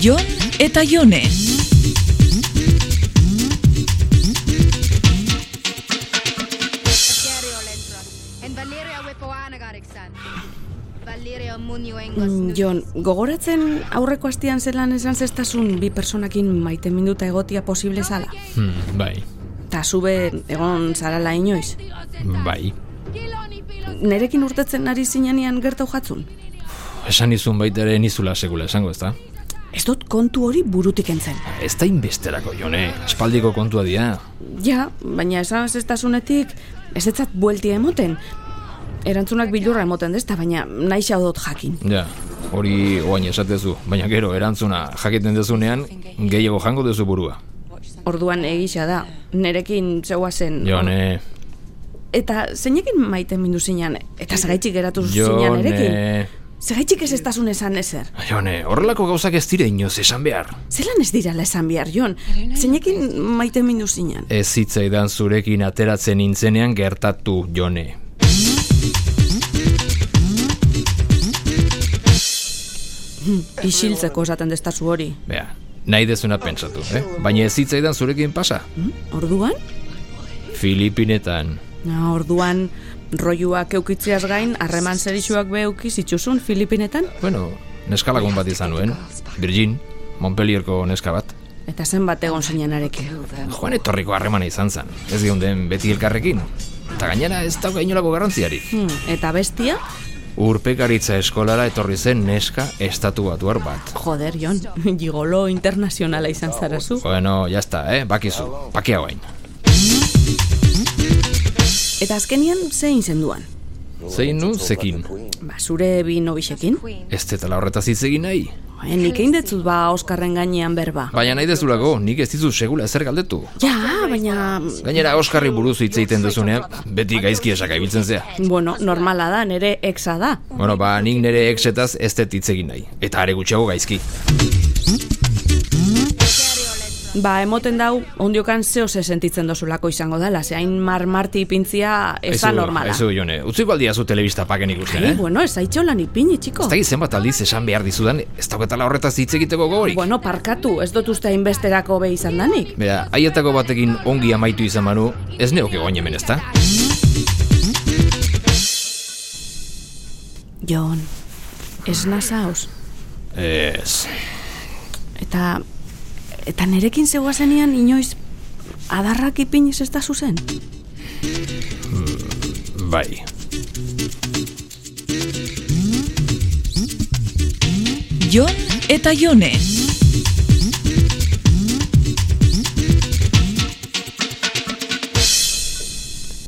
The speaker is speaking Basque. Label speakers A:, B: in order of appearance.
A: Jon eta Jone.
B: Mm, Jon, gogoratzen aurreko astian zelan esan zestasun bi personakin maite minduta egotia posible zala.
C: Hmm, bai,
B: Ta zube egon zarala inoiz.
C: bai.
B: Nerekin urtetzen ari zinenean gertau jatzun.
C: Esan izun baita ere nizula sekula esango, ezta?
B: Ez dut kontu hori burutik entzen.
C: Ez da inbesterako, jone. Espaldiko kontua dira.
B: Ja, baina esan zestasunetik ez etzat bueltia emoten. Erantzunak bilurra emoten dezta, baina nahi xau dut jakin.
C: Ja, hori oain esatezu, baina gero erantzuna jakiten dezunean, gehiago jango duzu burua.
B: Orduan egisa da, nerekin zeuazen.
C: Jone,
B: Eta zeinekin maite mindu zinean, eta zagaitxik geratu zinean erekin.
C: jone...
B: Zagaitxik ez estasun esan ezer.
C: Jone, horrelako gauzak ez dire inoz esan behar.
B: Zelan ez dirala esan behar, Jon? Zeinekin maite mindu zinean.
C: Ez zitzaidan zurekin ateratzen nintzenean gertatu, Jone.
B: Isiltzeko esaten destazu hori.
C: Bea, nahi dezuna pentsatu, eh? Baina ez zitzaidan zurekin pasa.
B: Orduan?
C: Filipinetan.
B: Na, orduan, roiuak eukitziaz gain, harreman zerixuak beukiz itxusun Filipinetan?
C: Bueno, neska lagun bat izan nuen. Virgin, Montpellierko neska bat.
B: Eta zenbat egon zinen areke.
C: Joan etorriko harremana izan zen. Ez geunden beti elkarrekin. Eta gainera ez dauka inolako garrantziari.
B: Hmm, eta bestia?
C: Urpekaritza eskolara etorri zen neska estatu batuar bat.
B: Joder, Jon, gigolo internazionala izan zarazu.
C: Bueno, jazta, eh? Bakizu, bakia guain.
B: Eta azkenian zein zenduan?
C: Zein nu, zekin.
B: Ba, zure bi nobisekin?
C: Ez tetala horretaz hitz egin nahi.
B: Eh, nik egin detzut ba Oskarren gainean berba.
C: Baina nahi dezulako, nik ez dizu segula ezer galdetu.
B: Ja, baina...
C: Gainera, Oskarri buruz hitz egiten duzunean, beti gaizki esaka ibiltzen zea.
B: Bueno, normala da, nere exa da.
C: Bueno, ba, nik nire exetaz ez dut hitz egin nahi. Eta are gutxiago gaizki.
B: Ba, emoten dau, ondiokan zeo se sentitzen dozulako izango dela, zehain marmarti ipintzia ez da
C: Aizu-
B: normala.
C: Aizu, jone, utziko aldia zu telebista paken ikusten,
B: Eh,
C: eh?
B: bueno, ez aitxolan ipini, txiko.
C: Ez da zenbat aldiz esan behar dizudan, ez daukatala horretaz hitz egiteko gogorik.
B: Bueno, parkatu, ez dut uste hainbesterako be izan danik.
C: Bera, haietako batekin ongi amaitu izan banu, ez neoke guain hemen, ezta?
B: Jon, ez nazauz.
C: Ez,
B: Eta, eta nerekin zegoazenean inoiz adarrak ipiniz ez da zuzen?
C: bai.
A: Jon eta Jone.